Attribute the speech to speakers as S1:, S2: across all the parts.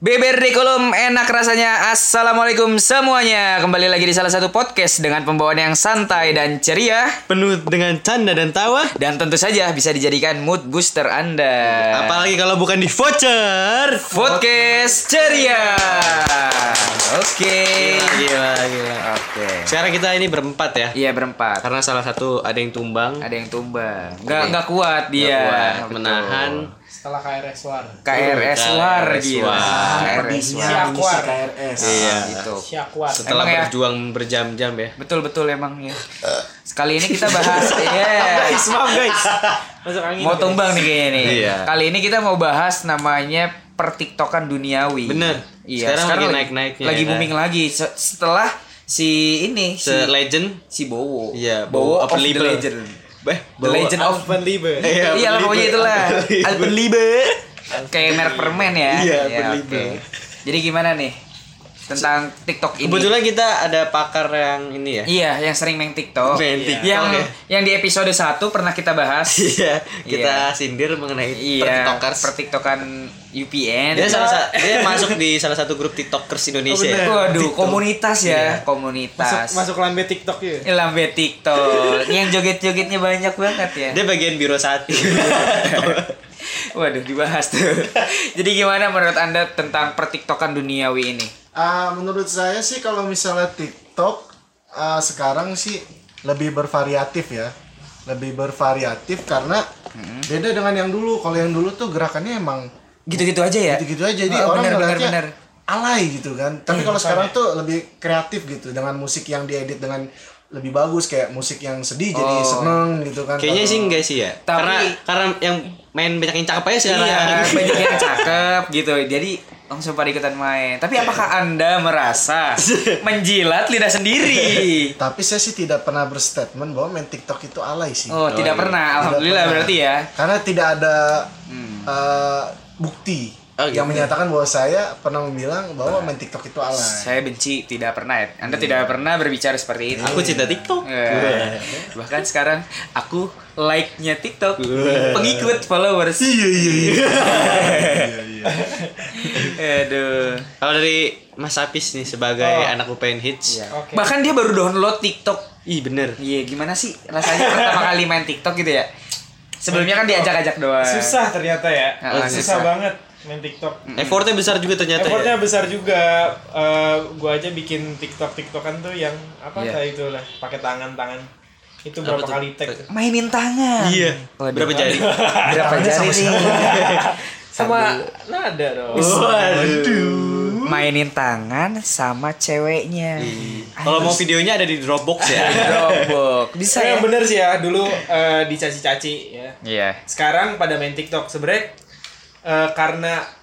S1: Beber di kolom enak rasanya. Assalamualaikum semuanya. Kembali lagi di salah satu podcast dengan pembawaan yang santai dan ceria
S2: penuh dengan canda dan tawa.
S1: dan tentu saja bisa dijadikan mood booster Anda.
S2: Apalagi kalau bukan di voucher.
S1: Podcast ceria. Oke.
S2: Eh, Gila, gila.
S1: Oke.
S2: Sekarang kita ini berempat ya.
S1: Iya berempat.
S2: Karena salah satu ada yang tumbang,
S1: Ada yang tumbang. Nggak nggak kuat dia.
S2: kuat,
S1: Betul.
S2: menahan.
S3: setelah KRS War.
S1: Iya, KRS war
S2: KRS
S1: gila.
S2: war.
S1: KRS war.
S3: Syakwar.
S4: KRS.
S2: Iya.
S1: Gitu.
S3: Syakwar.
S2: Setelah
S1: Emang ya?
S2: berjuang berjam-jam ya.
S1: Betul betul emang ya. Sekali ini kita bahas ya.
S2: Maaf guys.
S3: Masuk angin.
S1: Mau tumbang nih kayaknya nih.
S2: Iya.
S1: Kali ini kita mau bahas namanya pertiktokan duniawi.
S2: Bener.
S1: Iya.
S2: Sekarang lagi
S1: lagi-
S2: naik-naiknya,
S1: Lagi
S2: ya.
S1: booming lagi Se- setelah si ini si,
S2: Se legend.
S1: si Bowo.
S2: Iya,
S1: Bowo,
S2: Bowo
S1: of the
S2: Unbelievable.
S1: legend.
S2: Eh,
S1: The
S2: Bowo
S1: legend of
S3: Van Liebe.
S2: Iya,
S1: Iya lah pokoknya itulah.
S2: Unbelievable.
S1: Iya. Unbelievable. Kayak merek permen ya.
S2: Iya,
S1: Ya,
S2: Unbelievable.
S1: oke. Jadi gimana nih tentang TikTok ini?
S2: Kebetulan kita ada pakar yang ini ya.
S1: Iya, yang sering main TikTok. Iya.
S2: Main TikTok
S1: yang
S2: ya.
S1: yang di episode 1 pernah kita bahas.
S2: Iya,
S1: Iya.
S2: kita sindir mengenai
S1: Iya,
S2: tiktokers.
S1: pertiktokan UPN.
S2: Dia salah sa- dia masuk di salah satu grup tiktokers Indonesia.
S1: Oh,
S2: ya.
S1: Waduh, komunitas ya, komunitas.
S3: Masuk lambe TikTok ya.
S1: Lambe TikTok. Yang joget-jogetnya banyak banget ya.
S2: Dia bagian biro satu.
S1: Waduh, dibahas tuh. Jadi gimana menurut Anda tentang pertiktokan duniawi ini?
S4: Ah, menurut saya sih kalau misalnya TikTok ah, sekarang sih lebih bervariatif ya. Lebih bervariatif karena
S1: Hmm.
S4: beda dengan yang dulu. Kalau yang dulu tuh gerakannya emang
S1: Gitu-gitu aja ya.
S4: gitu-gitu aja jadi
S1: Oh,
S4: orang
S1: benar, benar,
S4: ngeliatnya
S1: benar.
S4: alay gitu kan.
S1: Hmm.
S4: Tapi kalau sekarang tuh lebih kreatif gitu dengan musik yang diedit dengan lebih bagus kayak musik yang sedih jadi
S1: Oh.
S4: seneng gitu kan.
S2: Kayaknya
S4: Kalau-
S2: sih enggak sih ya.
S1: Tapi-
S2: karena karena yang main banyak yang cakep aja sekarang.
S1: Iya, banyak yang cakep gitu. Jadi langsung pada ikutan main. Tapi apakah Anda merasa menjilat lidah sendiri?
S4: tapi saya sih tidak pernah berstatement bahwa main TikTok itu alay sih.
S1: Oh, tidak
S2: iya.
S1: pernah.
S4: Tidak
S1: Alhamdulillah
S4: pernah.
S1: berarti ya.
S4: Karena tidak ada
S3: Hmm.
S4: eh, bukti
S2: Oh, gitu.
S4: yang
S3: ya.
S4: menyatakan bahwa saya pernah bilang bahwa main TikTok itu alay.
S1: Saya benci tidak pernah ya. Anda tidak pernah berbicara seperti itu.
S2: Aku cinta TikTok.
S1: Eh, bahkan sekarang aku like-nya TikTok, pengikut followers. Iya iya iya. Aduh.
S2: Kalau dari Mas Apis nih sebagai
S1: Oh.
S2: anak UPN Hits.
S1: Iya.
S3: Oke.
S1: Bahkan dia baru download TikTok.
S2: Ih bener.
S1: Iya, gimana sih rasanya pertama kali main TikTok gitu ya? Sebelumnya kan diajak-ajak doang.
S3: Susah ternyata ya.
S1: Ah, susah.
S3: susah banget main TikTok. Iya,
S2: Effortnya besar juga ternyata
S3: Effortnya
S2: ya.
S3: besar juga. Eh, gua aja bikin TikTok TikTokan tuh yang apa
S1: Iya.
S3: kayak itu lah, pakai tangan-tangan. Itu
S2: Apa
S3: berapa
S2: tuh?
S3: kali tag?
S1: Mainin tangan.
S2: Iya.
S1: Waduh.
S2: Berapa jari?
S1: Berapa
S4: Tangannya
S1: jari nih?
S3: Sama nada dong.
S2: Waduh.
S1: Mainin tangan sama ceweknya.
S2: Kalau mau videonya ada di Dropbox ya.
S1: Robok. Bisa
S3: Saya
S1: ya?
S3: yang bener sih ya dulu eh, dicaci-caci ya.
S1: Iya.
S3: sekarang pada main TikTok sebenernya eh, karena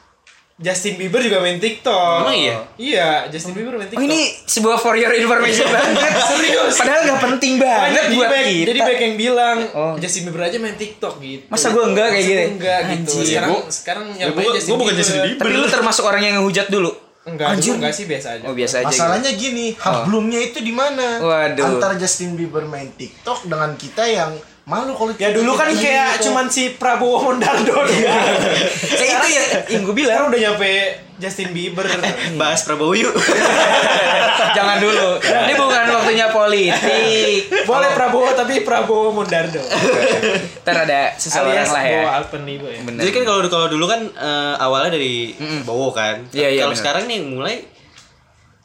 S3: Justin Bieber juga main TikTok.
S2: Emang iya?
S3: Iya, Justin Bieber main
S1: Oh
S3: TikTok.
S1: ini sebuah for your information banget
S3: Serius?
S1: Padahal gak penting
S3: Banyak
S1: banget
S3: jadi
S1: buat
S3: banyak,
S1: kita
S3: jadi banyak yang bilang
S1: Oh.
S3: Justin Bieber aja main TikTok gitu.
S1: Masa gua enggak kayak
S3: Masa gua
S1: gini?
S3: Enggak gitu.
S1: Anjir.
S3: Sekarang
S2: Gua-
S3: sekarang
S2: Ya, gua- gua bukan Justin Bieber.
S1: Tapi lu termasuk orang yang ngehujat dulu
S3: Enggak,
S1: Anjir.
S3: dulu enggak sih biasa aja.
S1: Oh biasa aja
S4: Masalahnya gini,
S3: Oh.
S4: hablumnya itu di mana?
S1: Waduh.
S4: Antara Justin Bieber main TikTok dengan kita yang malu kalau
S3: Ya dulu kan
S4: kita
S3: kayak
S4: gitu.
S3: cuman si Prabowo Mondardo doang.
S1: gitu. Saya itu ya Iya. yang gue bilang
S3: Sekarang udah nyampe Justin Bieber.
S1: Iya.
S2: Bahas Prabowo yuk.
S1: Jangan dulu Ini bukan waktunya politik
S3: Boleh Prabowo tapi Prabowo Mondardo.
S1: Ntar ada seseorang
S3: Alias
S1: lah ya
S3: Bowo Alpenlibo ya.
S1: Bener
S2: Jadi kan kalau kalau dulu kan eh, awalnya dari Bowo kan.
S1: Iya, iya,
S2: kalau
S1: bener.
S2: sekarang nih yang mulai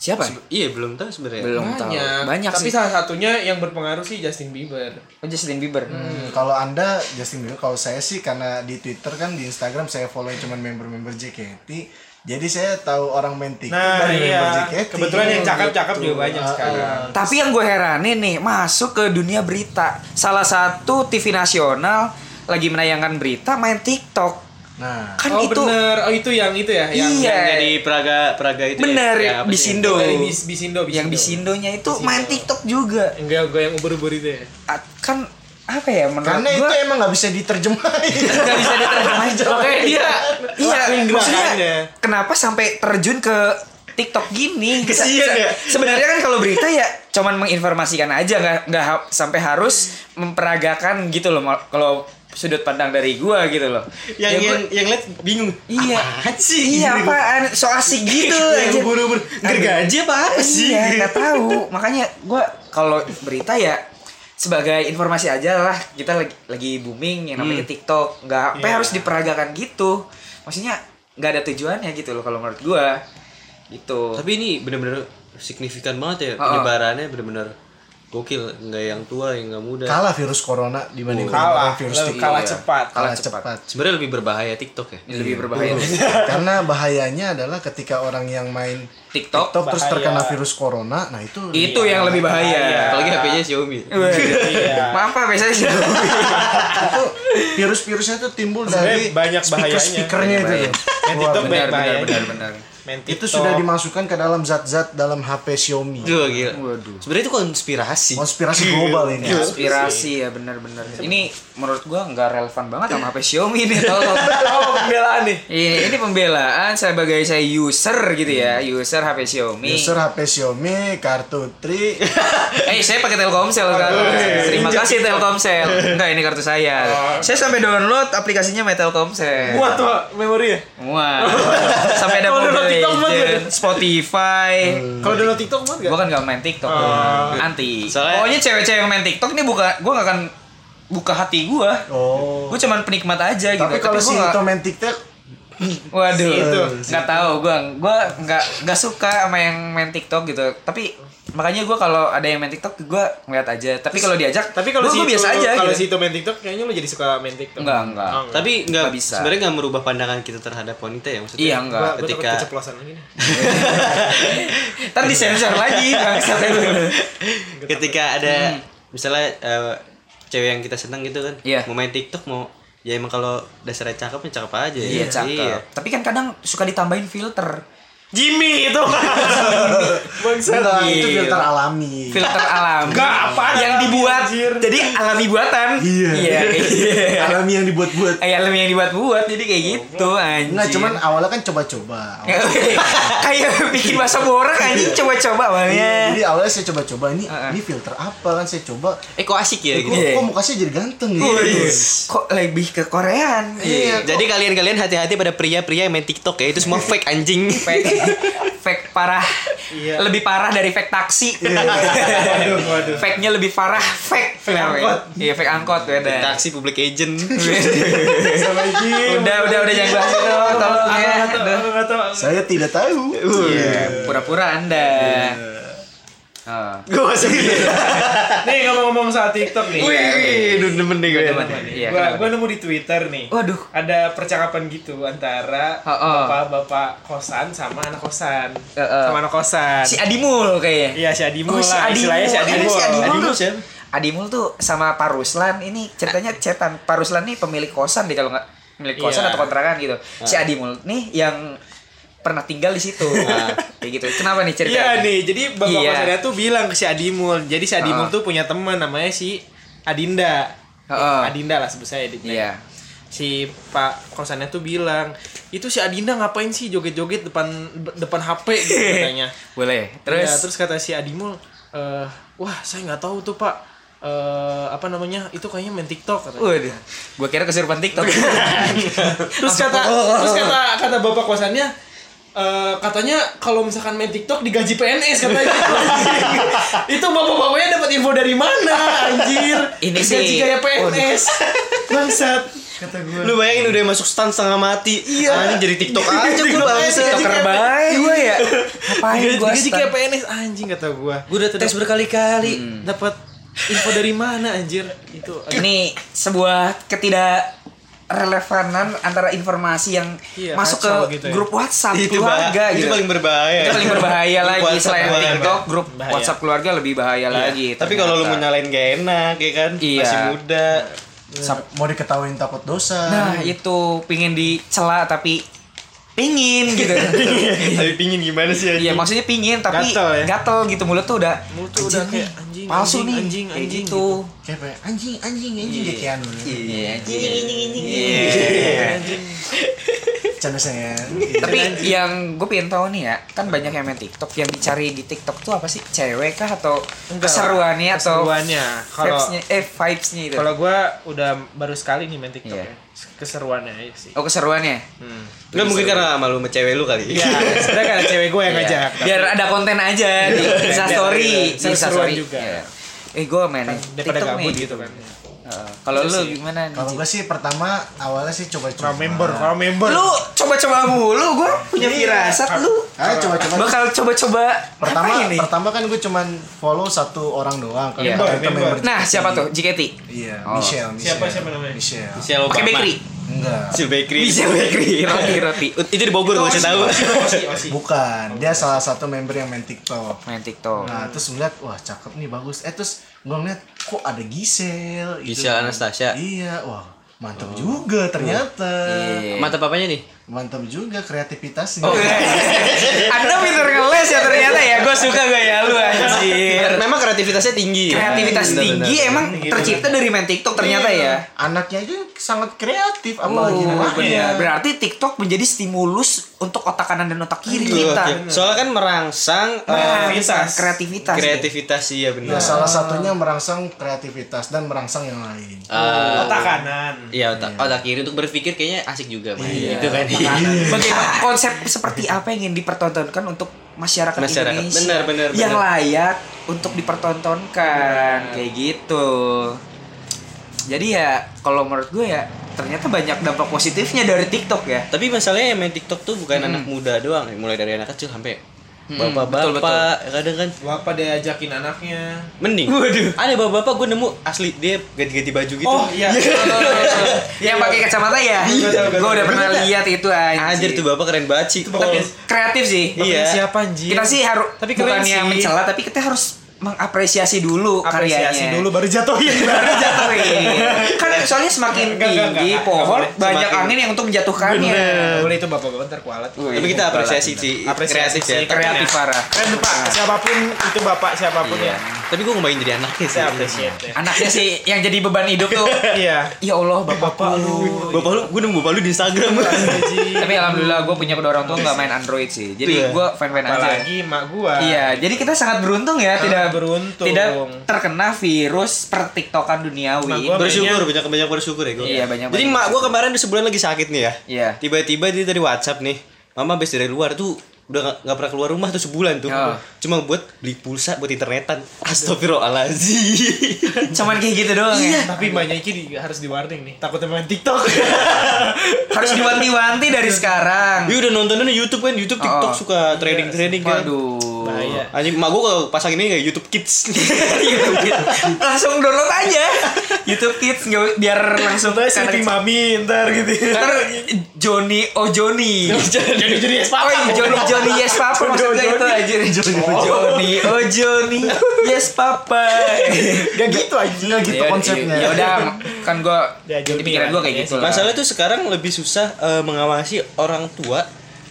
S1: Siapa?
S2: iya belum tahu sebenarnya.
S1: Belum tahu
S3: Banyak.
S1: Banyak
S3: tapi
S1: sih
S3: salah satunya yang berpengaruh sih Justin Bieber.
S1: Oh, Justin Bieber
S4: Hmm, Kalau Anda Justin Bieber, kalau saya sih karena di Twitter kan di Instagram saya follow cuman member-member JKT. Jadi saya tahu orang main TikTok
S3: Nah,
S4: dari member
S3: iya.
S4: JKT.
S3: Kebetulan yang cakep-cakep
S4: gitu.
S3: juga banyak
S4: Ah, ah.
S3: sekarang.
S1: Tapi yang gue heranin nih, masuk ke dunia berita. Salah satu TV nasional lagi menayangkan berita main TikTok.
S4: Nah,
S1: Kan
S3: oh,
S1: itu
S3: bener. Oh, itu yang itu ya, yang
S1: Iya.
S2: Yang jadi Praga Praga itu. ya,
S1: bener
S2: yang apa sih?
S1: Bisindo.
S3: Dari Bis- Bisindo, Bisindo.
S1: Yang Bisindonya itu main TikTok juga.
S3: enggak gue yang ubur-ubur itu ya.
S1: Ah, Kan apa ya menurut
S4: karena
S1: gue
S4: itu emang nggak bisa diterjemahin.
S1: nggak bisa diterjemahin. Makanya dia iya
S3: Lakuin
S1: maksudnya
S3: gerakannya.
S1: kenapa sampai terjun ke TikTok gini?
S2: Kesian ya.
S1: Sebenarnya kan kalau berita ya cuman menginformasikan aja nggak nggak ha- sampai harus memperagakan gitu loh mal- kalau sudut pandang dari gua gitu loh.
S2: yang
S1: Ya,
S2: yang
S1: gua-
S2: yang lihat bingung
S1: Iya.
S2: apaan sih
S1: Iya
S2: Gitu.
S1: apaan so asik gitu
S2: yang
S1: anjir.
S2: buru-buru gergaji apa apa sih
S1: Iya, nggak tahu. Makanya gua kalau berita ya sebagai informasi aja lah kita lagi lagi booming yang namanya TikTok nggak apa
S3: Iya.
S1: harus diperagakan gitu maksudnya nggak ada tujuannya gitu loh kalau menurut gua gitu
S2: tapi ini bener-bener signifikan banget ya
S1: Oh, oh.
S2: penyebarannya bener-bener gokil nggak yang tua yang nggak muda
S4: Kalah virus corona
S3: Iya.
S4: dibanding
S3: Kalah,
S4: virus
S3: lebih
S4: TikTok.
S3: kalah
S1: Iya.
S3: cepat.
S4: Kalah
S1: Kalah cepat.
S4: cepat.
S2: sebenarnya lebih berbahaya TikTok ya
S1: Ini lebih berbahaya
S4: Karena bahayanya adalah ketika orang yang main
S1: TikTok,
S4: TikTok terus
S3: bahaya.
S4: terkena virus corona, nah itu
S1: itu yang lebih bahaya
S2: Iya. apalagi HP-nya Xiaomi
S1: Weh,
S3: Iya.
S1: maaf pak biasanya sih
S4: itu virus-virusnya tuh timbul dari
S3: Sebenarnya banyak bahayanya.
S4: speaker-speakernya itu.
S1: Banyak
S4: tuh.
S3: Main
S4: Wah,
S3: TikTok
S1: benar
S3: banyak
S1: benar
S3: bahayanya.
S1: benar benar
S3: Main
S4: itu
S3: TikTok. Iya.
S4: sudah dimasukkan ke dalam zat-zat dalam HP Xiaomi.
S2: Duh, gila.
S1: Waduh.
S2: Sebenarnya itu konspirasi.
S4: Konspirasi global ini.
S3: Iya.
S1: inspirasi ya benar-benar ini menurut gua nggak relevan banget sama HP Xiaomi ini tolong
S3: Oh, pembelaan nih.
S1: Iya, ini pembelaan sebagai saya user gitu ya, user HP Xiaomi.
S4: User HP Xiaomi, kartu Tri,
S1: Eh, saya pakai Telkomsel kan. Terima kasih Telkomsel. Enggak, ini kartu saya.
S4: Oh.
S1: Saya sampai download aplikasinya My Telkomsel.
S3: Muat tuh memori ya.
S1: Wah. sampai ada
S3: Kalau
S1: Mobile
S3: download TikTok mah tuh
S1: Legends, Spotify.
S4: Hmm.
S3: Kalau download TikTok muat
S1: Gua
S3: enggak?
S1: kan nggak main TikTok.
S4: Oh.
S3: Ah.
S1: Anti.
S2: Soalnya-
S1: Pokoknya cewek-cewek yang main TikTok nih buka gua nggak akan buka hati gua.
S4: Oh.
S1: Gua cuman penikmat aja gitu.
S4: Tapi kalau
S1: gua
S4: si
S1: nggak-
S4: itu main TikTok,
S1: Waduh,
S4: Itu.
S1: nggak tahu gue, gue nggak nggak suka sama yang main TikTok gitu. Tapi makanya gue kalau ada yang main TikTok gue ngeliat aja. Tapi kalau diajak,
S3: Tapi kalau
S1: gua-
S3: si
S1: gua biasa aja.
S3: Kalau si
S1: gitu.
S3: itu main TikTok kayaknya lu jadi suka main TikTok.
S1: Enggak, enggak.
S3: Oh,
S2: Tapi nggak
S1: Nggak bisa.
S2: bisa. Sebenarnya nggak merubah pandangan kita terhadap wanita ya maksudnya.
S1: Iya enggak.
S3: Gua- gua takut
S2: ketika-
S3: keceplosan lagi nih.
S1: Ntar disensor lagi bangsat
S3: Iya
S1: itu.
S2: Ketika ada misalnya eh, cewek yang kita senang gitu kan,
S1: Hmm. Iya.
S2: mau main TikTok mau ya emang kalau dasarnya cakep ya cakep aja.
S1: Iya cakep.
S2: Iya.
S1: Tapi kan kadang suka ditambahin filter.
S3: Jimmy itu. Bangsa.
S4: enggak,
S1: Gila.
S4: itu filter
S3: Iya.
S4: alami.
S1: Filter alami.
S3: Enggak, apaan
S1: yang
S3: alami,
S1: dibuat.
S3: anjir.
S1: Jadi alami buatan.
S4: Iya.
S1: Iya. kayak gitu.
S4: Alami yang dibuat-buat.
S1: Kayak alami yang dibuat-buat jadi kayak gitu
S3: Nah,
S1: anjir.
S4: Enggak, cuman awalnya kan coba-coba.
S1: Iya.
S4: Awalnya-
S1: kayak bikin bahasa borak anjing coba-coba awalnya.
S4: Jadi awalnya saya coba-coba ini
S1: Heeh.
S4: ini filter apa kan saya coba.
S2: Eh kok asik ya
S4: Eh, kok,
S2: gitu.
S1: Iya.
S4: kok mukanya jadi ganteng ya?
S1: Kok lebih ke Koreaan?
S4: Iya. kok-
S2: Jadi kalian-kalian hati-hati pada pria-pria yang main TikTok ya, itu semua fake anjing.
S1: Fake, fake parah.
S3: Iya.
S1: Lebih parah dari fake taksi.
S3: Waduh, waduh.
S1: Fake-nya lebih parah fake. Fake
S3: angkot.
S1: Iya, fake angkot beda.
S2: Taksi public agent.
S3: Sama Jim.
S1: udah, udah, udah jangan bahas itu.
S3: Iya.
S1: Tolong ya. Aduh.
S3: Enggak tahu.
S4: Saya tidak tahu.
S1: Iya, pura-pura Anda.
S3: Iya.
S1: Oh.
S2: Gue masih
S3: Nih ngomong-ngomong soal TikTok nih.
S1: Iya,
S2: Wih, demen deh gue.
S1: Teman, Iya,
S3: gua,
S1: kenapa?
S3: gua nemu di Twitter nih.
S1: Waduh.
S3: Ada percakapan gitu antara
S1: Oh, oh.
S3: bapak-bapak kosan sama anak kosan.
S1: Eh, eh.
S3: Sama anak kosan.
S1: Si Adimul kayaknya.
S3: Iya, si
S1: Oh,
S3: Adimul
S1: si Adimul.
S3: lah. Istilahnya si
S1: Emang
S3: Adimul.
S1: si Adimul
S2: Adimul
S1: tuh-
S2: siapa?
S1: Adimul tuh sama Paruslan ini ceritanya cetan Paruslan nih pemilik kosan deh kalau nggak milik kosan
S3: Eh. Iya. Ah.
S1: atau kontrakan gitu. Si Adimul nih yang pernah tinggal di situ. Kayak gitu. Kenapa nih ceritanya?
S3: Ah. Iya nih, jadi bapak
S1: Iya.
S3: kosannya tuh bilang ke si Adimul. Jadi si Adimul
S1: Ah.
S3: tuh punya teman namanya si Adinda.
S1: Ah.
S3: Adinda lah sebut saya Adinda.
S1: Iya.
S3: Si Pak kosannya tuh bilang, "Itu si Adinda ngapain sih joget-joget depan depan HP?" gitu katanya.
S1: Boleh. Iya, Terus,
S3: Terus terus kata si Adimul, "Eh, wah, saya nggak tahu tuh, Pak. Eh, apa namanya? Itu kayaknya main TikTok katanya.
S1: waduh. Gua kira kesurupan TikTok. Kan
S3: terus kata terus kata kata bapak kosannya "Eh, katanya kalau misalkan main TikTok digaji PNS katanya itu bapak-bapaknya dapat info dari mana anjir
S1: Ini
S3: Digaji
S1: sih-
S3: kayak PNS bangsat kata gue
S2: Lu bayangin udah masuk stand setengah mati. Iya. Anjing jadi TikTok aja gue bangsa.
S1: TikToker baik gue ya. Ngapain gua?
S3: digaji kayak
S1: stan-
S3: PNS anjing kata Hmm. gue
S2: Gue udah tes berkali-kali.
S3: dapat info dari mana anjir itu
S1: Ini sebuah ketidak relevanan antara informasi yang
S3: Iya,
S1: masuk
S3: kacau
S1: ke
S3: gitu ya.
S1: grup WhatsApp
S2: itu
S1: keluarga
S2: bah-
S1: gitu.
S2: itu paling berbahaya.
S1: itu paling berbahaya lagi
S2: WhatsApp
S1: selain
S2: keluarga.
S1: TikTok grup
S3: Bahaya.
S1: WhatsApp keluarga lebih bahaya
S2: Iya.
S1: lagi.
S2: Tapi kalau lu mau
S1: ternyata.
S2: nyalain gak enak ya kan?
S1: Iya.
S2: Masih muda.
S4: Sam- Iya. mau diketawain takut dosa.
S1: nah itu pingin dicela tapi pingin gitu.
S2: Tapi pingin gimana sih
S1: Iya
S2: anjing?
S1: maksudnya pingin tapi
S3: Gatel ya?
S1: gatel gitu mulut tuh udah
S3: Mulut
S1: "Anjing
S3: tuh udah kayak,
S1: nih,
S3: "Anjing,
S1: palsu
S3: anjing,
S1: nih
S3: anjing,
S1: kayak
S3: anjing,"
S1: gitu.
S4: Kayak apa ya? anjing anu ya.
S3: Iya,
S4: anjing anjing kayak Keanu.
S1: Iya. anjing.
S3: anjing anjing anjing
S4: Cendesen.
S1: Tapi
S3: Iya,
S1: yang gue pengen tahu nih ya, kan banyak yang main TikTok. Yang dicari di TikTok tuh apa sih? Cewek kah atau keseruannya atau
S3: keseruannya. Kalau
S1: vibes-nya? Eh, vibes-nya itu.
S3: kalau gua udah baru sekali nih main TikTok
S1: Iya.
S3: ya. Keseruannya aja sih.
S1: Oh, keseruannya.
S3: Hmm.
S2: Enggak mungkin karena malu sama cewek lu kali.
S3: Iya, sebenarnya kan ada cewek gue yang
S1: Iya.
S3: ngajak.
S1: Biar ada konten aja di Instastory,
S3: Iya, Biar-
S1: di
S3: seru-seruan
S1: Instastory.
S3: juga.
S1: Iya. Eh, gue main
S3: daripada
S1: TikTok
S3: gabut
S1: nih.
S3: gitu Iya kan.
S1: Heeh. Kalau lu gimana nih?
S4: Kalau
S1: Ji?
S4: gue sih pertama awalnya sih
S3: Raw
S4: coba-coba.
S3: Nah, member, raw member.
S1: Lu coba-coba mulu, gue punya
S3: Iya.
S1: firasat lu.
S4: Ah, coba-coba.
S1: Bakal coba-coba
S4: pertama
S1: ngapain nih?
S4: pertama kan gue cuman follow satu orang doang kalau
S1: Iya.
S4: ternyata
S3: Member, member.
S1: Nah, siapa tuh? JKT.
S4: iya
S1: Oh.
S4: Michelle, Michelle
S3: Siapa- siapa namanya?
S4: Michelle
S2: Michelle
S1: Pakai
S2: Obama.
S1: bakery.
S4: enggak
S2: Michelle Bakery.
S1: Michelle bakery, roti, roti.
S2: Itu di Bogor gue kasih tahu.
S3: Osi, Osi.
S4: bukan dia salah satu member yang main TikTok
S1: Main TikTok.
S4: nah terus gue liat wah cakep nih bagus eh terus gue ngeliat kok ada Gisel gitu.
S2: Giselle Anastasia.
S4: iya wah mantap juga ternyata
S1: Iya.
S2: Mata papanya nih.
S4: mantap juga kreativitasnya
S1: Oh, iya. Anda pinter ngeles ya ternyata ya. Gue suka gaya lu anjir.
S2: Memang kreativitasnya
S3: Iya,
S2: tinggi.
S1: Kreativitas
S2: Bener,
S1: tinggi
S2: bener.
S1: emang tercipta dari main TikTok ternyata
S3: Iya.
S1: ya.
S4: anaknya aja sangat kreatif
S1: Oh,
S4: apalagi
S3: Iya.
S4: anaknya
S1: benar. Berarti TikTok menjadi stimulus untuk otak kanan dan otak kiri kita.
S2: Oke. Soalnya kan merangsang eh,
S1: Kreativitas. Kreativitas.
S2: kreativitas iya
S4: Ya,
S2: benar.
S4: salah satunya merangsang kreativitas dan merangsang yang lain.
S2: Eh,
S3: Otak kanan.
S2: Iya otak, otak kiri untuk berpikir kayaknya asik juga Pak. Gitu kan.
S1: Bagaimana konsep seperti apa yang ingin dipertontonkan untuk masyarakat,
S2: Masyarakat.
S1: Indonesia?
S2: Benar, benar,
S1: Yang
S2: benar.
S1: layak untuk dipertontonkan kayak gitu. Jadi ya kalau menurut gue ya ternyata banyak dampak positifnya dari TikTok ya.
S2: Tapi masalahnya yang main TikTok tuh bukan anak muda doang, mulai dari anak kecil sampai bapak-bapak kadang kan
S3: Bapak diajakin anaknya.
S2: mending. Ada bapak-bapak gue nemu asli dia ganti-ganti baju gitu.
S3: Oh iya.
S1: yang pakai kacamata ya. gue udah pernah lihat itu
S2: Anjir
S1: anjir.
S2: tuh bapak keren banget sih.
S1: Tapi kreatif sih.
S2: Iya.
S3: Siapa anjir?
S1: Kita sih harus
S3: Tapi keren
S1: bukannya
S3: sih.
S1: mencela tapi kita harus mengapresiasi dulu
S3: apresiasi
S1: karyanya. Iya.
S3: dulu baru jatuhin.
S1: Baru jatuhin. kan soalnya semakin
S3: Enggak, enggak,
S1: tinggi
S3: enggak, enggak
S1: pohon
S2: boleh.
S1: banyak
S2: Semakin-
S1: angin yang untuk menjatuhkannya.
S3: Nggak boleh itu bapak-bapak ntar kualat.
S1: Wih,
S2: Tapi kita apresiasi sih kreatif
S3: Apresiasi
S2: ya.
S3: sih,
S1: kreatif parah.
S3: Keren tuh, Pak, siapapun itu bapak siapapun
S2: Iya.
S3: ya.
S2: Tapi gue ngebayangin jadi anaknya sih.
S3: Saya appreciate ya.
S1: Anaknya sih yang jadi beban hidup tuh.
S3: Iya.
S1: Ya Allah, bapak,
S3: Bapak lu.
S1: Iya.
S2: Bapak lu, gue nemu bapak lu di Instagram.
S1: Tapi alhamdulillah gue punya kedua orang tua nggak main Android sih. Jadi
S2: Iya.
S1: gue fan-fan aja.
S3: Apalagi mak gua.
S1: Iya, jadi kita sangat beruntung ya, tidak
S3: beruntung.
S1: tidak terkena virus pertiktokan
S3: Nah,
S1: duniawi.
S3: gua main-
S2: bersyukur banyak banyak bersyukur ya gue.
S1: Iya, banyak-
S2: Jadi
S1: banyak
S2: mak gue kemarin udah sebulan lagi sakit nih ya.
S1: Iya.
S2: Tiba-tiba dia dari WhatsApp nih. Mama habis dari luar tuh udah gak, nggak pernah keluar rumah tuh sebulan tuh.
S1: Ya.
S2: Cuma buat beli pulsa buat internetan. Astagfirullahaladzim.
S1: Cuman kayak gitu doang ya.
S3: Tapi banyaknya di, harus di warning nih. Takutnya main TikTok.
S1: Harus diwanti-wanti dari sekarang.
S2: Dia udah nontonin YouTube kan, YouTube TikTok
S1: Oh.
S2: suka trending-trending kan.
S1: Waduh.
S3: Bahaya.
S2: Anjing, mak gue kalau pasang ini kayak YouTube Kids.
S1: langsung download aja YouTube Kids nggak- biar langsung
S3: Contohnya Siti
S1: karena-
S3: Mami ntar gitu.
S1: Ntar eh, Joni oh Joni
S3: Jadi jadi es
S1: Oh
S3: papa.
S1: iya, Joni Joni yes papa maksudnya itu aja Joni oh Joni yes papa
S4: Gak gitu aja. Gak gitu
S1: Ya-
S4: konsepnya.
S1: ya udah kan gue
S3: Ya, Joni
S1: di pikiran gue kayak
S3: aja
S1: gitu lah
S2: Masalahnya tuh sekarang lebih susah eh, mengawasi orang tua.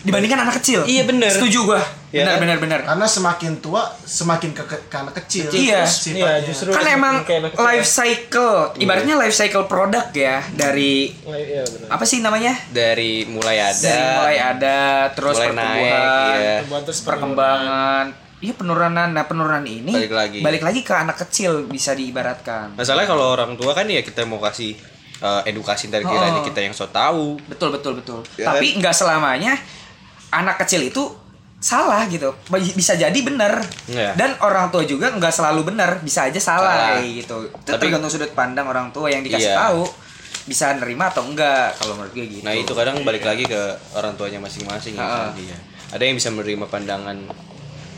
S1: dibandingkan anak kecil
S2: Iya, bener.
S1: setuju gue
S2: Iya
S1: benar
S2: kan?
S1: benar benar
S4: Karena semakin tua semakin ke, ke- ke anak kecil.
S1: Iya.
S4: Sifatnya.
S3: Iya, justru.
S1: kan
S3: Kayak
S1: emang
S3: anak kecil.
S1: life cycle ibaratnya life cycle produk ya dari
S3: Iya benar.
S1: apa sih namanya
S2: Dari mulai ada.
S1: dari mulai ada terus
S2: mulai
S1: pertumbuhan
S2: iya.
S3: Buat terus
S1: perkembangan iya penurunan nah penurunan ini
S2: Balik lagi.
S1: balik lagi ke anak kecil bisa diibaratkan
S2: Masalahnya kalau orang tua kan ya kita mau kasih eh, edukasi
S1: Oh.
S2: dari kiranya kita yang so tahu.
S1: betul betul betul
S2: Ya
S1: tapi nggak selamanya anak kecil itu salah gitu Bi- bisa jadi benar
S2: Iya.
S1: dan orang tua juga nggak selalu benar bisa aja salah
S2: Salah.
S1: kayak gitu itu
S2: Tapi-
S1: tergantung sudut pandang orang tua yang dikasih
S2: Iya.
S1: tahu bisa nerima atau enggak kalau menurut gue gitu
S2: Nah itu kadang balik lagi ke orang tuanya masing-masing ya,
S1: Ha-ha.
S2: tadi ya. Ada yang bisa menerima pandangan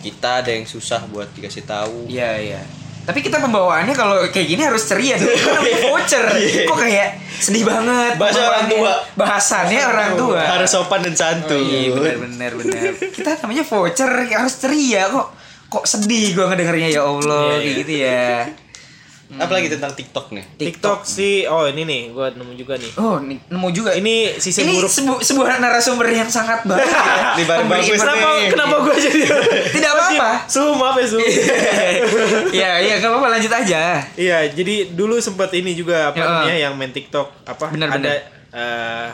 S2: kita, ada yang susah buat dikasih tahu.
S1: Iya iya. Tapi kita pembawaannya kalau kayak gini harus ceria dong. Kan namanya voucher. Kok kayak sedih banget.
S2: Bahasa orang tua.
S1: pembawaannya. Bahasannya orang tua.
S2: Harus sopan dan santun.
S1: Iya benar benar benar. Kita namanya voucher kayak harus ceria kok. Kok sedih gua ngedengarnya ya Allah kayak gitu ya. Hmm.
S2: Apalagi tentang TikTok nih.
S1: TikTok.
S3: TikTok sih. Oh ini nih, gua nemu juga nih.
S1: Oh, nih, nemu juga ini.
S3: Ini sisi
S1: Ini
S3: buruk.
S1: sebu- sebuah narasumber yang sangat bagus. ya.
S2: Ini baru
S1: Pemberi
S2: bagus
S1: informasi.
S3: Kenapa
S2: nih.
S3: kenapa gua jadi?
S1: Tidak apa-apa.
S3: Su, maaf ya Su.
S1: Iya, iya enggak apa-apa lanjut aja.
S3: Iya, jadi dulu sempat ini juga apa
S1: Ya,
S3: namanya
S1: eh.
S3: yang main TikTok apa
S1: Benar,
S3: ada
S1: benar.
S3: eh,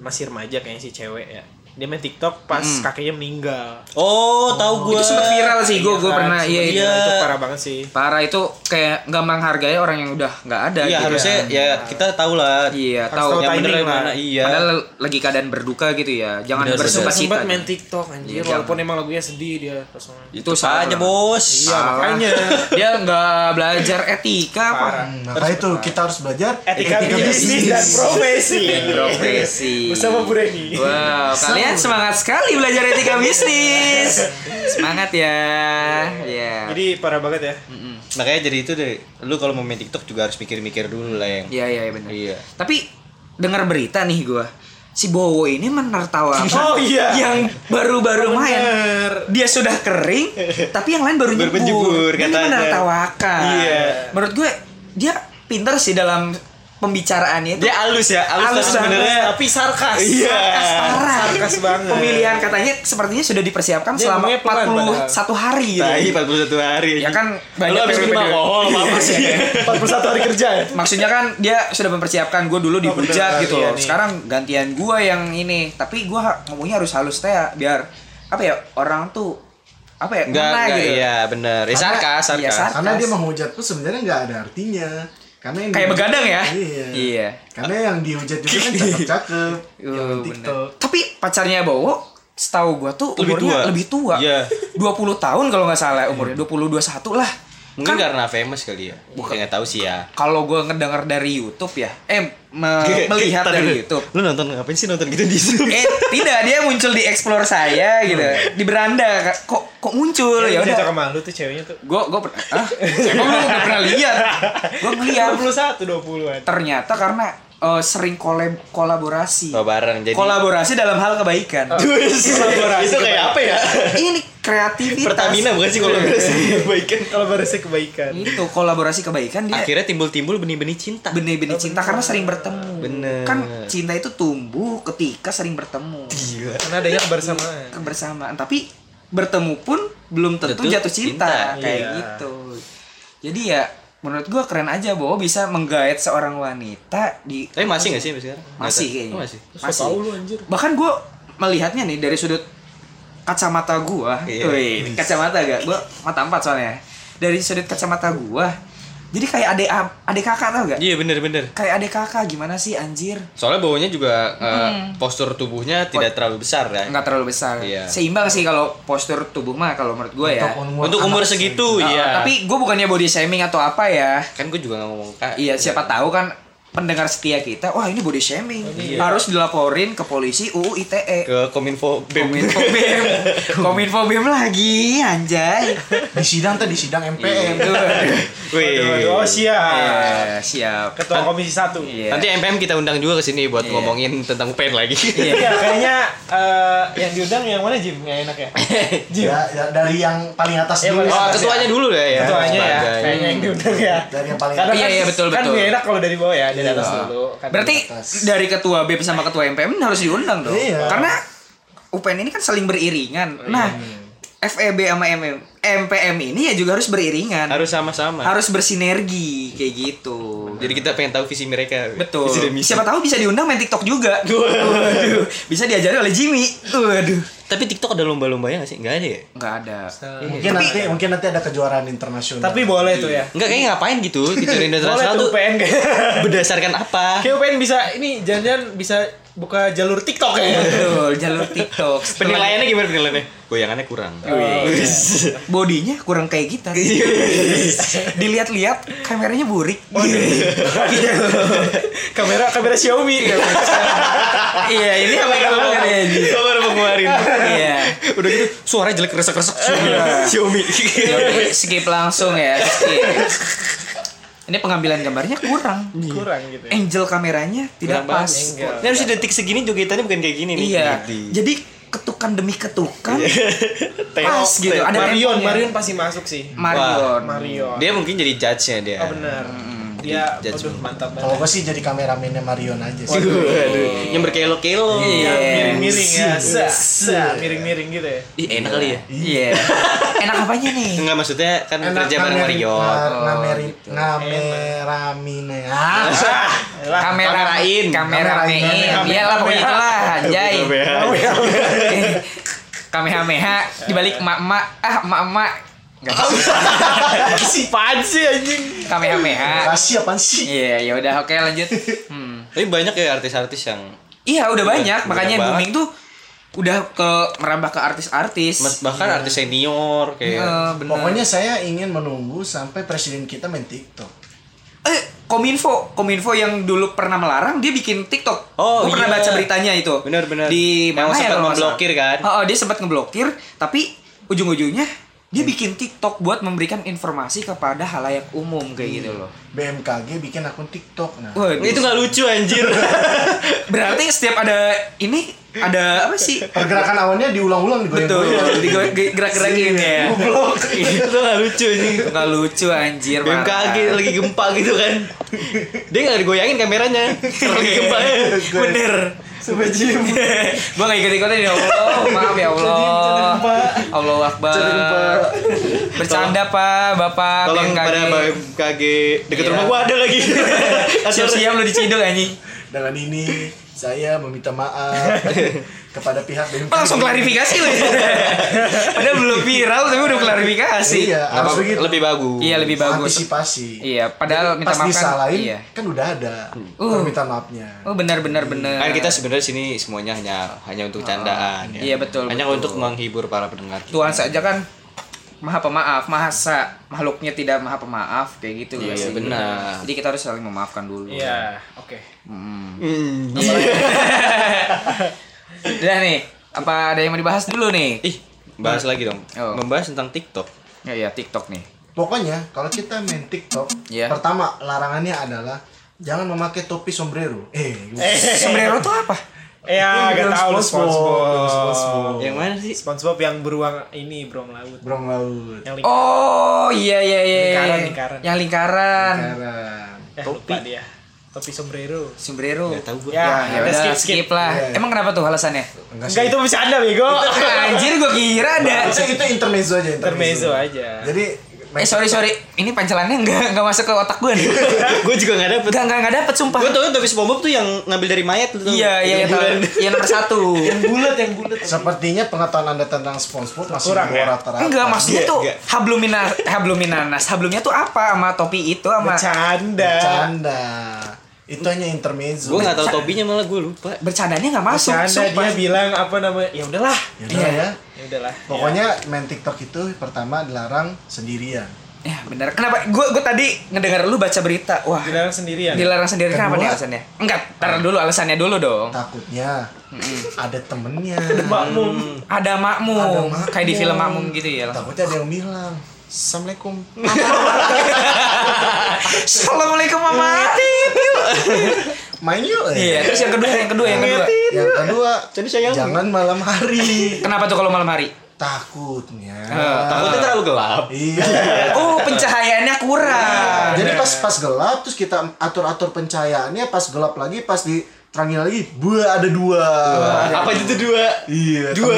S3: masih remaja kayaknya si cewek ya. Dia main TikTok pas
S1: Hmm.
S3: kakeknya meninggal.
S2: Oh, tahu gua.
S1: Itu sempat viral sih, gue gue
S3: Kan,
S1: pernah iya
S3: sempat-
S1: iya.
S3: itu parah banget sih.
S1: Parah itu kayak nggak menghargai orang yang udah nggak ada.
S2: Iya,
S1: gitu.
S2: harusnya ya kita tahu lah.
S1: Iya
S3: Harus
S1: tahu.
S3: tahu
S2: Yang bener
S3: timing
S2: yang
S3: lah.
S2: mana iya.
S1: Padahal lagi keadaan berduka gitu ya. Jangan
S2: Bener,
S1: bersuka
S3: Sempat
S1: cita.
S3: sempat main TikTok anjir,
S1: Iya,
S3: walaupun
S1: jangan.
S3: emang lagunya sedih dia langsung.
S1: Itu
S2: itu
S1: salah.
S2: saja, Bos.
S3: Iya,
S1: Salah.
S3: makanya.
S1: dia nggak belajar etika apa.
S3: Parah.
S4: Maka Hmm, nah, itu kita harus belajar
S1: Eh,
S3: Etika bisnis dan profesi.
S1: Iya, Profesi.
S3: Bersama Bu Reni.
S1: Wow, kalian semangat sekali belajar etika bisnis. Semangat ya. Ya.
S3: Jadi parah banget ya.
S2: Makanya jadi itu deh. Lu kalau mau main TikTok juga harus mikir-mikir dulu lah yang.
S1: Iya, iya, iya, benar.
S2: Iya.
S1: Tapi dengar berita nih gua. Si Bowo ini menertawakan
S3: Oh, iya.
S1: yang baru-baru main.
S3: Bener.
S1: Dia sudah kering, tapi yang lain baru nyebur.
S2: Baru menjebur,
S1: Ini
S2: katanya.
S1: menertawakan.
S2: Iya.
S1: Menurut gue dia pintar sih dalam pembicaraannya itu.
S2: Dia halus ya, halus,
S1: Halus
S2: tapi
S1: banget.
S2: sebenarnya.
S3: Tapi sarkas.
S2: Iya.
S3: Sarkas parah.
S1: Sarkas
S3: Sarkas banget.
S1: Pemilihan katanya sepertinya sudah dipersiapkan
S3: Dia
S1: selama
S3: ngomongnya pelan
S1: 41 hari gitu.
S2: Tai 41 hari.
S1: Ya
S2: anjing.
S1: kan
S2: Lu
S1: banyak Iya.
S2: habis minum
S1: periode-periode.
S2: alkohol apa apa sih?
S3: 41 hari kerja ya.
S1: Maksudnya kan dia sudah mempersiapkan gue dulu dihujat
S3: bener.
S1: gitu
S3: Iya
S1: loh.
S3: nih.
S1: Sekarang gantian gue yang ini, tapi gue ngomongnya harus halus teh ya, biar apa ya orang tuh apa ya
S2: Enggak,
S1: ngena
S2: enggak,
S1: gitu.
S2: iya benar. Ya, sarkas,
S1: Iya,
S2: sarkas.
S1: sarkas.
S4: Karena dia menghujat tuh sebenarnya nggak ada artinya. Karena yang
S1: Kayak
S4: dihujat-
S1: begadang ya?
S4: Iya.
S1: Iya.
S4: Karena yang dihujat juga kan cakep-cakep.
S1: Oh,
S4: yang
S1: bener.
S4: TikTok.
S1: Tapi pacarnya Bowo setahu gua tuh
S2: Lebih
S1: umurnya
S2: tua.
S1: lebih tua.
S2: Iya.
S1: 20 tahun kalau nggak salah umurnya
S4: Iya.
S1: 20 21 lah.
S2: Mungkin
S1: Kan
S2: karena famous kali ya. Bukan enggak tahu sih ya.
S1: kalau gua ngedengar dari YouTube ya. Eh me-
S3: Gitu.
S1: melihat
S2: Tar dulu.
S1: dari YouTube.
S2: Lu nonton ngapain sih nonton gitu di YouTube?
S1: Eh tidak dia muncul di explore saya gitu. Di beranda kok kok muncul ya
S3: Hmm. Iya, Cocok
S1: udah.
S3: sama lu tuh ceweknya tuh.
S1: Gua gua pernah ah, emang lu nggak pernah lihat. Gua ngeliat
S3: 21 20-an.
S1: ternyata karena eh, sering kolab kolaborasi.
S2: Oh, bareng jadi. Oh.
S1: Kolaborasi dalam hal kebaikan. Iya,
S2: Itu kayak apa ya?
S1: Ini kreativitas.
S2: Pertamina bukan sih
S1: Iya.
S2: kolaborasi kebaikan.
S3: Kalau barisnya kebaikan.
S1: itu kolaborasi kebaikan dia
S2: Akhirnya timbul-timbul benih-benih cinta.
S1: benih-benih cinta karena sering bertemu
S2: Bener.
S1: kan cinta itu tumbuh ketika sering bertemu
S3: Karena adanya kebersamaan.
S1: kebersamaan tapi bertemu pun belum tentu
S2: Tentu
S1: jatuh cinta,
S2: cinta.
S1: kayak
S3: Iya.
S1: gitu jadi ya menurut gua keren aja bahwa bisa menggait seorang wanita di
S2: Tapi masih gak sih sampai sekarang?
S1: masih kayaknya
S2: Oh, masih.
S1: masih
S3: Tahu lu anjir.
S1: bahkan gue melihatnya nih dari sudut kacamata gua
S2: Iya.
S1: Wih, kacamata gak gue mata empat soalnya dari sudut kacamata gua jadi kayak adik am- adik kakak tau gak
S2: Iya bener-bener.
S1: kayak adik kakak gimana sih anjir
S2: Soalnya baunya juga eh, postur tubuhnya tidak terlalu besar ya.
S1: nggak terlalu besar
S2: Iya.
S1: seimbang sih kalau postur tubuh mah kalau menurut gua ya
S4: Untuk umur
S2: Untuk umur
S4: anak
S2: segitu,
S1: Uh,
S2: iya.
S1: tapi gue bukannya body shaming atau apa ya
S2: kan gue juga gak ngomong kak.
S1: Iya, siapa tahu kan pendengar setia kita, wah ini body shaming.
S3: Oh, iya.
S1: Harus dilaporin ke polisi UU ITE.
S2: Ke kominfo BEM.
S1: Kominfo BEM. Kominfo BEM lagi, anjay.
S4: Di sidang tadi sidang
S1: Iya.
S4: MPM.
S2: Wih.
S3: Waduh, oh siap.
S1: Eh, siap.
S3: Ketua Komisi 1.
S1: Iya.
S2: Nanti MPM kita undang juga ke sini buat
S1: Iya.
S2: ngomongin tentang pen lagi.
S3: Iya, kayaknya eh, yang diundang yang mana Jim? Yang enak ya? Jim.
S4: ya, ya, dari yang paling atas
S3: Iya,
S4: dulu.
S3: paling
S2: Oh,
S3: atas.
S2: ketuanya dulu deh ya.
S3: Ketuanya ya,
S2: Sebagai-
S3: kayaknya yang diundang ya.
S4: Dari yang paling
S3: Karena
S4: atas.
S1: Iya,
S3: kan-
S1: iya, betul,
S3: kan
S1: betul.
S3: nggak enak kalau dari bawah ya, dari atas
S4: Iya.
S3: dulu. Kan
S1: Berarti
S4: atas.
S1: dari ketua BEM sama ketua MPM harus diundang dong.
S4: Iya.
S1: Karena UPN ini kan saling beriringan. Nah, FEB sama MM, MPM ini ya juga harus beriringan.
S2: Harus sama-sama.
S1: harus bersinergi kayak gitu.
S2: Jadi kita pengen tahu visi mereka.
S1: Betul.
S2: Visi dan misi.
S1: Siapa tahu bisa diundang main TikTok juga. Waduh. Bisa diajari oleh Jimmy. Waduh.
S2: Tapi TikTok ada lomba-lombanya gak sih? Gak ada ya?
S1: Nggak ada.
S4: Mungkin nanti mungkin nanti ada kejuaraan internasional.
S3: tapi boleh tuh
S1: Iya.
S3: ya.
S2: Enggak kayaknya ngapain gitu kejuaraan
S3: Boleh
S2: internasional
S3: tuh
S2: tuh
S3: UPN kayak.
S2: berdasarkan apa?
S3: Kayak UPN bisa ini jangan-jangan bisa buka jalur TikTok ya.
S1: Betul, jalur TikTok. Setelah-
S2: Penilaiannya gimana penilaiannya? Goyangannya kurang.
S1: Oh, iya. Bodinya kurang kayak kita. Dilihat-lihat kameranya burik.
S3: kamera kamera Xiaomi.
S1: Iya, ini apa yang banget ya. Ji?
S2: Gua baru mau ngeluarin.
S1: Iya.
S2: Udah gitu Iya. suara jelek Iya. resek-resek Xiaomi.
S1: Ya udah, skip langsung ya. skip. Ini pengambilan gambarnya kurang.
S3: Kurang gitu. ya.
S1: Angel kameranya tidak
S2: Kurang
S1: pas.
S2: banget. Ini harusnya detik segini jogetannya bukan kayak gini nih.
S1: Iya.
S2: Gitu.
S1: Jadi ketukan demi ketukan
S2: Iya. Tengok,
S1: pas gitu.
S2: tengok.
S1: Ada Hmm.
S3: Marion,
S1: temponya.
S3: Marion pasti masuk sih.
S1: Marion.
S3: Marion.
S2: Dia mungkin jadi judge-nya dia.
S3: Oh benar. dia
S2: Di judgment.
S3: aduh mantap
S4: Kalau
S3: banget
S4: gue sih jadi kameramennya Marion aja sih.
S2: Waduh, yang berkelo-kelo.
S1: Iya.
S3: miring-miring ya sa sa
S4: Iya.
S3: miring-miring gitu ya
S2: Ih, enak kali ya.
S1: Iya. Enak apanya nih?
S2: Enggak maksudnya kan kerja bareng
S4: ngameri-
S2: Marion.
S4: nga- ngameri-
S1: gitu.
S4: Ngameramine. Ah,
S3: Lah,
S1: Kamerain, kamerain.
S4: Kamerain.
S1: Iyalah pokoknya itulah anjay.
S2: Kamehameha.
S1: Kamehameha dibalik emak-emak. Ah, emak-emak. Enggak
S3: si pansi anjing
S1: Kamehameha.
S4: rahasia apaan Ah, sih?
S1: Iya, ya udah oke lanjut. Hmm.
S2: Tapi banyak ya artis-artis yang
S1: Iya udah banyak,
S2: Udah
S1: makanya
S2: banyak
S1: booming tuh udah ke merambah ke artis-artis.
S2: mas- bahkan artis senior kayak
S1: Eh, bener.
S4: Pokoknya saya ingin menunggu sampai presiden kita main TikTok.
S1: eh kominfo kominfo yang dulu pernah melarang dia bikin tiktok
S2: Oh,
S1: Gua pernah
S2: iya.
S1: baca beritanya itu
S2: Bener, bener.
S1: di
S2: Yang
S1: mana
S2: sempat
S1: ya kalau nggak
S2: memblokir,
S1: salah.
S2: kan?
S1: oh, oh, dia sempat ngeblokir tapi ujung ujungnya dia
S2: Hmm.
S1: bikin tiktok buat memberikan informasi kepada halayak umum kayak gitu loh
S4: BMKG bikin akun TikTok. Nah,
S1: Waduh.
S2: Hmm. itu nggak lucu anjir
S1: berarti setiap ada ini ada apa sih
S4: pergerakan awannya diulang-ulang
S1: betul
S4: digoyang-goyang.
S1: digerak-gerakin ya
S2: itu nggak lucu anjing
S1: nggak lucu anjir parah.
S2: BMKG lagi gempa gitu kan dia nggak digoyangin kameranya kalau lagi gempa ya
S1: bener
S4: Sampai cium.
S1: gua gak ikut ikutan ya Allah maaf ya Allah Allah Akbar bercanda pak bapak
S2: tolong
S1: BMKG.
S2: pada BMKG deket
S1: Iya.
S2: rumah gua ada lagi Ah,
S1: siap-siap lu diciduk anjing
S4: Dengan ini saya meminta maaf kepada pihak BMKG. Iya,
S1: Pak, langsung klarifikasi lu padahal belum viral tapi udah klarifikasi
S4: Iya,
S2: Nggak
S4: harus
S2: apa-
S4: begitu.
S2: lebih bagus
S1: iya lebih bagus
S4: Antisipasi.
S1: iya padahal minta
S4: Pas
S1: maaf kan
S4: disalahin
S1: iya
S4: kan udah ada
S1: Uh.
S4: permintaan maafnya.
S1: oh benar benar benar
S2: kan kita sebenarnya sini semuanya hanya hanya untuk candaan ya.
S1: Iya, betul,
S2: hanya
S1: betul.
S2: untuk menghibur para pendengar kita.
S1: Tuhan saja kan maha pemaaf masa makhluknya tidak maha pemaaf kayak gitu
S2: Iya,
S1: nggak sih?
S2: benar.
S1: jadi kita harus saling memaafkan dulu
S3: iya oke
S1: Hmm.
S2: Hmm.
S1: udah nih apa ada yang mau dibahas dulu nih
S2: ih bahas lagi dong
S1: Oh.
S2: membahas tentang TikTok
S1: ya ya TikTok nih
S4: Pokoknya kalau kita main TikTok,
S1: Iya.
S4: pertama larangannya adalah jangan memakai topi sombrero. Eh,
S1: sombrero tuh apa
S3: ya gak tau lu SpongeBob
S4: SpongeBob.
S2: yang mana sih
S3: SpongeBob yang beruang ini beruang laut
S4: Brong laut.
S3: yang lingkaran
S1: oh iya iya iya
S3: Lingkaran, lingkaran.
S1: yang lingkaran
S4: Karen.
S3: eh, lupa dia topi sombrero
S1: sombrero
S2: Nggak tahu gua.
S3: Ya.
S1: ya, ya
S3: udah,
S1: udah skip,
S3: skip, skip.
S1: lah
S4: Iya, iya.
S1: emang kenapa tuh alasannya
S4: Enggak
S3: enggak
S4: sih.
S3: itu bercanda bego
S1: Oh, anjir gue kira ada
S4: Itu, itu intermezzo aja,
S3: intermezzo aja
S4: Jadi
S1: eh sorry sorry ini pancelannya nggak nggak masuk ke otak gue nih
S2: gue juga nggak dapet
S1: nggak nggak nggak dapet sumpah
S2: gue tau tapi SpongeBob tuh yang ngambil dari mayat tuh
S1: iya iya iya
S2: Yang bulan.
S1: tahu. yang nomor satu
S3: bulat yang bulat
S4: sepertinya pengetahuan Anda tentang SpongeBob masih
S3: Kurang,
S4: di bawah
S3: ya?
S4: rata-rata.
S1: Enggak, maksudnya
S2: Iya,
S1: tuh
S2: enggak.
S1: hablumina habluminanas. Hablumnya tuh apa sama topi itu sama
S3: bercanda
S4: Bercanda. Itu hanya intermezzo.
S2: gue nggak tahu topinya malah gue lupa
S1: bercandanya nggak masuk.
S3: bercanda
S1: sumpah.
S3: dia bilang apa namanya ya udahlah
S4: Ya udah ya.
S3: ya udahlah
S4: Pokoknya main TikTok itu pertama dilarang sendirian.
S1: Ya, benar. Kenapa? Gue gue tadi ngedengar lu baca berita. Wah,
S3: dilarang sendirian
S1: dilarang sendiri kenapa
S4: Kedua.
S1: nih alasannya? Enggak, ntar dulu alasannya dulu dong.
S4: Takutnya ada temennya.
S3: makmum
S1: Ada makmum,
S4: Ada makmum.
S1: kayak di film makmum gitu ya. langsung.
S4: Takutnya ada yang bilang. Assalamualaikum.
S1: Assalamualaikum Mama.
S4: Main yuk.
S1: Iya,
S4: eh.
S1: terus yang kedua, yang kedua, yang kedua.
S4: Yang kedua,
S2: Jadi sayang.
S4: jangan malam hari.
S1: Kenapa tuh kalau malam hari?
S4: Takutnya.
S1: Eh,
S2: takutnya terlalu gelap
S4: Iya.
S1: Oh, pencahayaannya kurang.
S4: Jadi pas pas gelap terus kita atur-atur pencahayaannya pas gelap lagi pas diterangin lagi buah ada dua.
S1: Ah,
S2: apa itu dua
S4: Iya.
S2: dua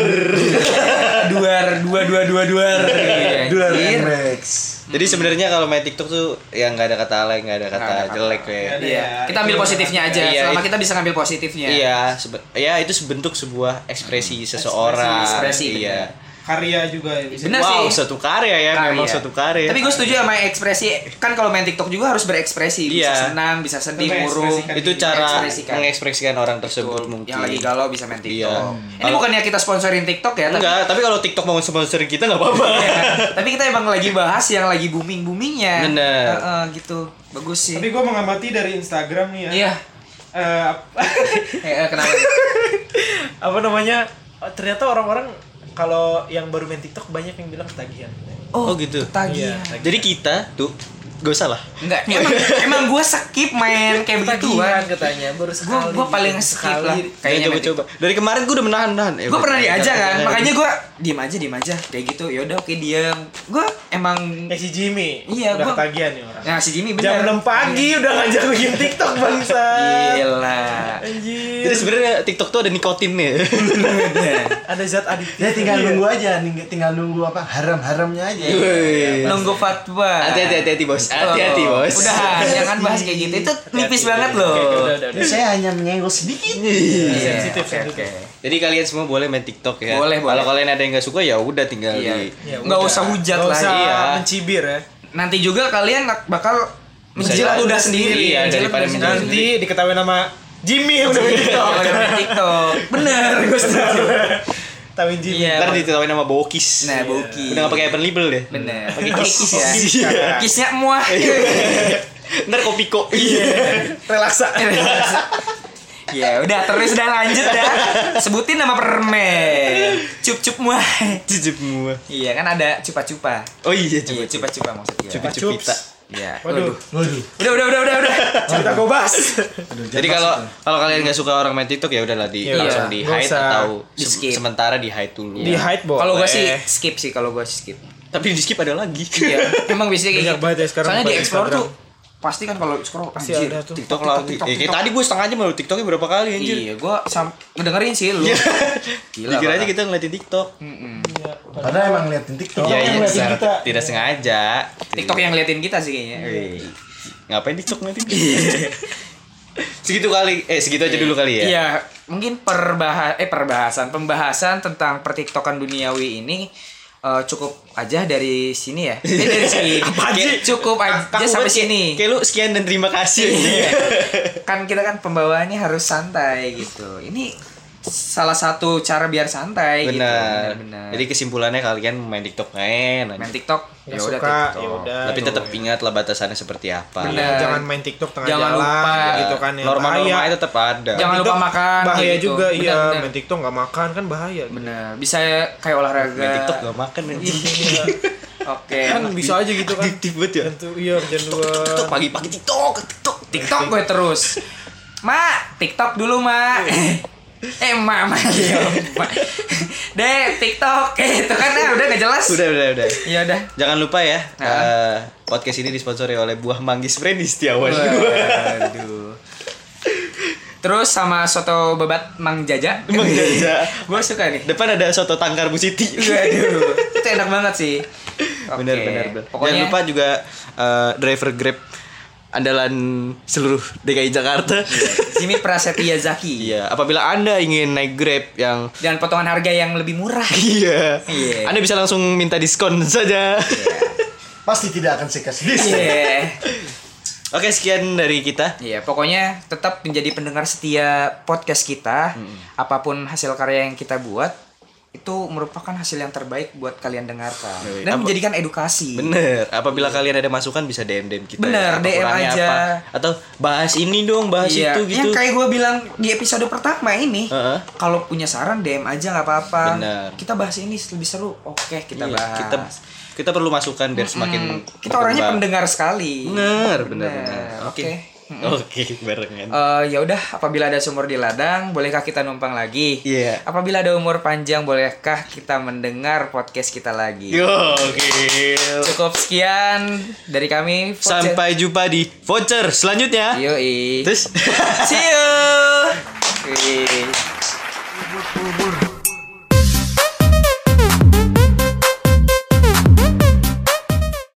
S1: duar, dua, dua, dua, duar. Iya,
S4: Dua
S1: anjir.
S4: Rex.
S2: jadi sebenarnya kalau main TikTok tuh yang nggak ada kata lain nggak ada kata
S1: Nggak ada
S2: jelek ya
S3: Nggak ada.
S1: Iya,
S3: Ya,
S1: kita ambil
S3: itu
S1: positifnya aja.
S2: iya,
S1: Selama
S2: itu-
S1: kita bisa ngambil positifnya.
S2: iya sebe- ya itu sebentuk sebuah ekspresi
S1: Hmm.
S2: seseorang
S1: ekspresi,
S2: iya
S3: karya juga ya bisa
S1: Benar
S2: wow
S1: sih.
S2: satu karya ya memang
S1: Karya.
S2: satu
S1: Nah,
S2: karya
S1: iya. Tapi gue setuju sama ekspresi. Kan kalau main TikTok juga harus berekspresi. Bisa
S2: Iya.
S1: senang, bisa sedih, murung.
S3: Mengekspresikan
S2: itu cara
S1: Mengekspresikan.
S2: mengekspresikan orang tersebut
S1: Betul.
S2: mungkin
S1: Yang lagi galau bisa main TikTok.
S2: Iya.
S1: Ini bukannya kita sponsorin TikTok ya? Tapi,
S2: enggak tapi kalau TikTok mau sponsorin kita nggak apa-apa
S1: Iya. tapi kita emang lagi bahas yang lagi booming-boomingnya.
S2: Bener.
S1: Heeh, gitu. Bagus sih.
S3: tapi gue mengamati dari Instagram nih ya
S1: Iya.
S3: Eh, ap-
S1: Eh, eh, kenapa?
S3: apa namanya eh, ternyata orang-orang kalau yang baru main TikTok banyak yang bilang ketagihan
S2: Oh, gitu.
S1: Tagihan.
S3: Iya.
S2: Jadi kita tuh gak usah lah
S1: Enggak, emang, emang gue skip main kayak
S3: Tagihan
S1: begituan
S3: katanya
S1: Gue
S3: baru sekali.
S1: gue paling skip lah
S2: Kayaknya
S1: Kayaknya
S2: coba-coba dari kemarin gue udah menahan-nahan Eh,
S1: Gue pernah diajak kan, makanya gue diem aja, diem aja Kayak gitu, yaudah oke diem Gue emang
S3: Ya si Jimmy.
S1: Iya,
S3: udah
S1: gua-
S3: ketagihan nih orang.
S1: Nah si Jimmy
S3: Jam
S1: bener
S3: 6 pagi udah ngajak bikin TikTok bangsa.
S1: Gila
S3: Anjir.
S2: jadi sebenarnya TikTok tuh ada nikotinnya
S1: Bener.
S3: Ada zat adiktif.
S4: Ya tinggal
S3: Iya.
S4: nunggu aja, ning- tinggal nunggu apa haram-haramnya aja.
S1: Iya.
S2: Iya.
S3: Iya.
S2: Wih.
S1: Nunggu fatwa Oh.
S2: Hati-hati, hati-hati, bos. Hati-hati, bos.
S1: Udah, jangan bahas kayak gitu Itu nipis banget loh
S3: Oke, udah, udah, udah.
S4: Ini Ya, saya hanya menyenggol sedikit.
S1: Iya,
S3: Sensitif,
S1: oke,
S3: sensitif.
S1: oke.
S2: Jadi kalian semua boleh main TikTok ya.
S1: Boleh, boleh.
S2: Kalau kalian ada yang nggak suka ya udah tinggal
S1: Iya.
S2: di
S3: Ya
S1: Nggak
S3: udah.
S1: usah hujat
S3: Nggak
S1: lah,
S3: usah
S2: iya.
S3: mencibir ya.
S1: Nanti juga kalian bakal menjilat
S2: jadi-
S1: udah sendiri
S2: Iya,
S1: Menjilat
S2: daripada
S1: udah
S2: menjilat
S1: sendiri.
S3: Nanti diketahui nama Jimmy yang udah main TikTok.
S1: Kalau udah main TikTok Bener, gue setuju
S3: Tahuin Jimmy.
S1: Iya
S2: Ntar ditawain nama Bokis.
S1: Nah, Boki
S2: Udah nggak pakai open label deh.
S1: Bener
S2: Pakai
S1: Pakai
S2: kis.
S1: kis ya
S2: Iya.
S1: Kisnya muah
S3: Iya.
S2: Ntar kopiko. Iya.
S3: Relaksa.
S1: Ya udah terus udah lanjut dah Sebutin nama permen Cup-cup muah
S2: Cucup mua.
S1: Iya kan ada cupa-cupa
S2: Oh iya
S1: Iya
S2: cucup.
S1: cupa-cupa maksudnya
S2: Cucup cupita.
S1: Iya
S3: Waduh.
S1: Waduh
S4: Waduh.
S1: Udah udah udah udah udah
S3: Cerita gobas.
S4: Aduh,
S2: Jadi
S4: jangan
S2: kalau
S4: masuk tuh.
S2: kalau kalian nggak suka orang main TikTok ya udahlah di
S3: Iya.
S2: langsung di
S3: Nggak
S2: hide
S3: usah.
S2: atau
S1: Di
S2: se-
S1: skip.
S2: sementara di hide dulu.
S3: Di hide boleh.
S1: Kalau gue sih skip sih kalau gue skip
S2: Tapi di skip ada lagi.
S1: Iya emang biasanya kayak
S3: Banyak
S1: gitu.
S3: banget ya sekarang
S1: Soalnya di
S3: banyak
S1: explore
S3: Instagram.
S1: tuh Pasti kan kalau scroll
S3: Pasti
S1: anjir,
S3: ada tuh.
S2: TikTok lagi. Eh, kayak tadi gue setengah aja malu TikToknya berapa kali anjir.
S1: Iya gue sam ngedengerin sih lu Gila,
S2: Dikira
S1: parah.
S2: aja gitu. kita ngeliatin TikTok.
S4: Padahal emang ngeliatin TikTok.
S2: Iya, iya,
S3: yang ngeliatin
S2: secara
S3: kita.
S2: tidak sengaja.
S1: TikTok yang ngeliatin kita sih kayaknya
S2: Wih. Iya. Ngapain TikTok nanti? segitu kali eh segitu aja dulu kali ya.
S1: Iya, mungkin perbahas eh perbahasan pembahasan tentang pertiktokan duniawi ini eh, cukup aja dari sini ya. Eh, dari sini.
S2: Iya. Apa
S1: Kayak
S2: sih?
S1: Cukup aja
S2: Kaku
S1: sampai
S2: banget,
S1: sini.
S2: Kayak lu sekian dan terima kasih.
S1: Iya. kan kita kan pembawaannya harus santai gitu. Ini salah satu cara biar santai gitu.
S2: benar.
S1: Benar.
S2: Jadi kesimpulannya kalian main TikTok main.
S1: main
S2: aja.
S1: TikTok
S3: Nggak
S1: ya udah
S3: suka,
S1: TikTok.
S3: ya udah.
S2: Tapi tetap ingatlah batasannya seperti apa.
S1: Benar.
S3: Iya, jangan main TikTok tengah
S1: Jangan
S3: jalan
S1: lupa.
S3: gitu kan ya.
S2: Norma-normanya
S3: bahaya.
S2: tetap ada.
S1: Jangan
S3: TikTok
S1: lupa makan,
S3: Bahaya
S1: kayak gitu.
S3: juga
S1: Benar,
S3: iya,
S1: benar.
S3: main TikTok nggak makan kan bahaya.
S1: Benar. Bisa kayak olahraga.
S2: main TikTok gak makan anjing.
S3: Iya.
S1: Oke.
S3: kan bisa aja gitu kan.
S2: Adiktif banget ya.
S3: Tentu iya kerjaan
S2: TikTok
S3: dua.
S2: pagi-pagi TikTok, TikTok.
S1: TikTok gue terus. Mak, TikTok dulu, Mak.
S2: Iya.
S1: eh, Mak, Mak. Iya, Mak. Dek, TikTok. Eh, itu kan ah, udah gak jelas.
S2: Udah, udah, udah.
S1: Iya udah.
S2: Jangan lupa ya,
S1: Ah.
S2: eh, podcast ini disponsori oleh buah manggis Freddy Setiawan.
S1: Waduh. Terus sama soto bebat Mang Jaja.
S2: Mang Jaja.
S1: gue suka nih.
S2: Depan ada soto tangkar Bu Siti.
S1: Waduh. Itu enak banget sih. Iya, Oke.
S2: Bener, bener, bener.
S1: Pokoknya
S2: Jangan lupa juga eh, driver Grab andalan seluruh DKI Jakarta.
S1: Jimmy Prasetya Zaki.
S2: Iya, apabila Anda ingin naik Grab yang
S1: Dan potongan harga yang lebih murah.
S2: Iya.
S1: Iya.
S2: Anda bisa langsung minta diskon saja.
S4: Pasti tidak akan saya kasih diskon.
S1: Iya.
S2: Oke, sekian dari kita.
S1: Iya, pokoknya tetap menjadi pendengar setia podcast kita. Apapun hasil karya yang kita buat itu merupakan hasil yang terbaik buat kalian dengarkan dan
S2: Yoi. Iya, Apa-
S1: menjadikan edukasi.
S2: Bener, apabila kalian ada masukan bisa DM DM kita.
S1: Iya.
S2: ya.
S1: Bener,
S2: Apa
S1: DM
S2: kurangnya
S1: aja.
S2: Atau bahas ini dong, bahas
S1: Iya,
S2: itu gitu.
S1: yang kayak gue bilang di episode pertama ini,
S2: Heeh.
S1: kalau punya saran DM aja nggak apa-apa.
S2: Bener.
S1: Kita bahas ini lebih seru, oke kita
S2: Iya,
S1: bahas. Hmm,
S2: Kita Hmm, kita perlu masukan biar semakin
S1: Kita orangnya
S2: berkembang.
S1: pendengar sekali.
S2: Bener, bener,
S1: Bener,
S2: bener. Oke.
S1: oke.
S2: Oke, barengan.
S1: Eh, ya udah apabila ada sumur di ladang bolehkah kita numpang lagi?
S2: Iya.
S1: Apabila ada umur panjang bolehkah kita mendengar podcast kita lagi?
S2: Yo, gil.
S1: Cukup sekian dari kami.
S2: Sampai jumpa di Iya. voucher selanjutnya.
S1: Yoi.
S2: Terus
S1: See you. Wih.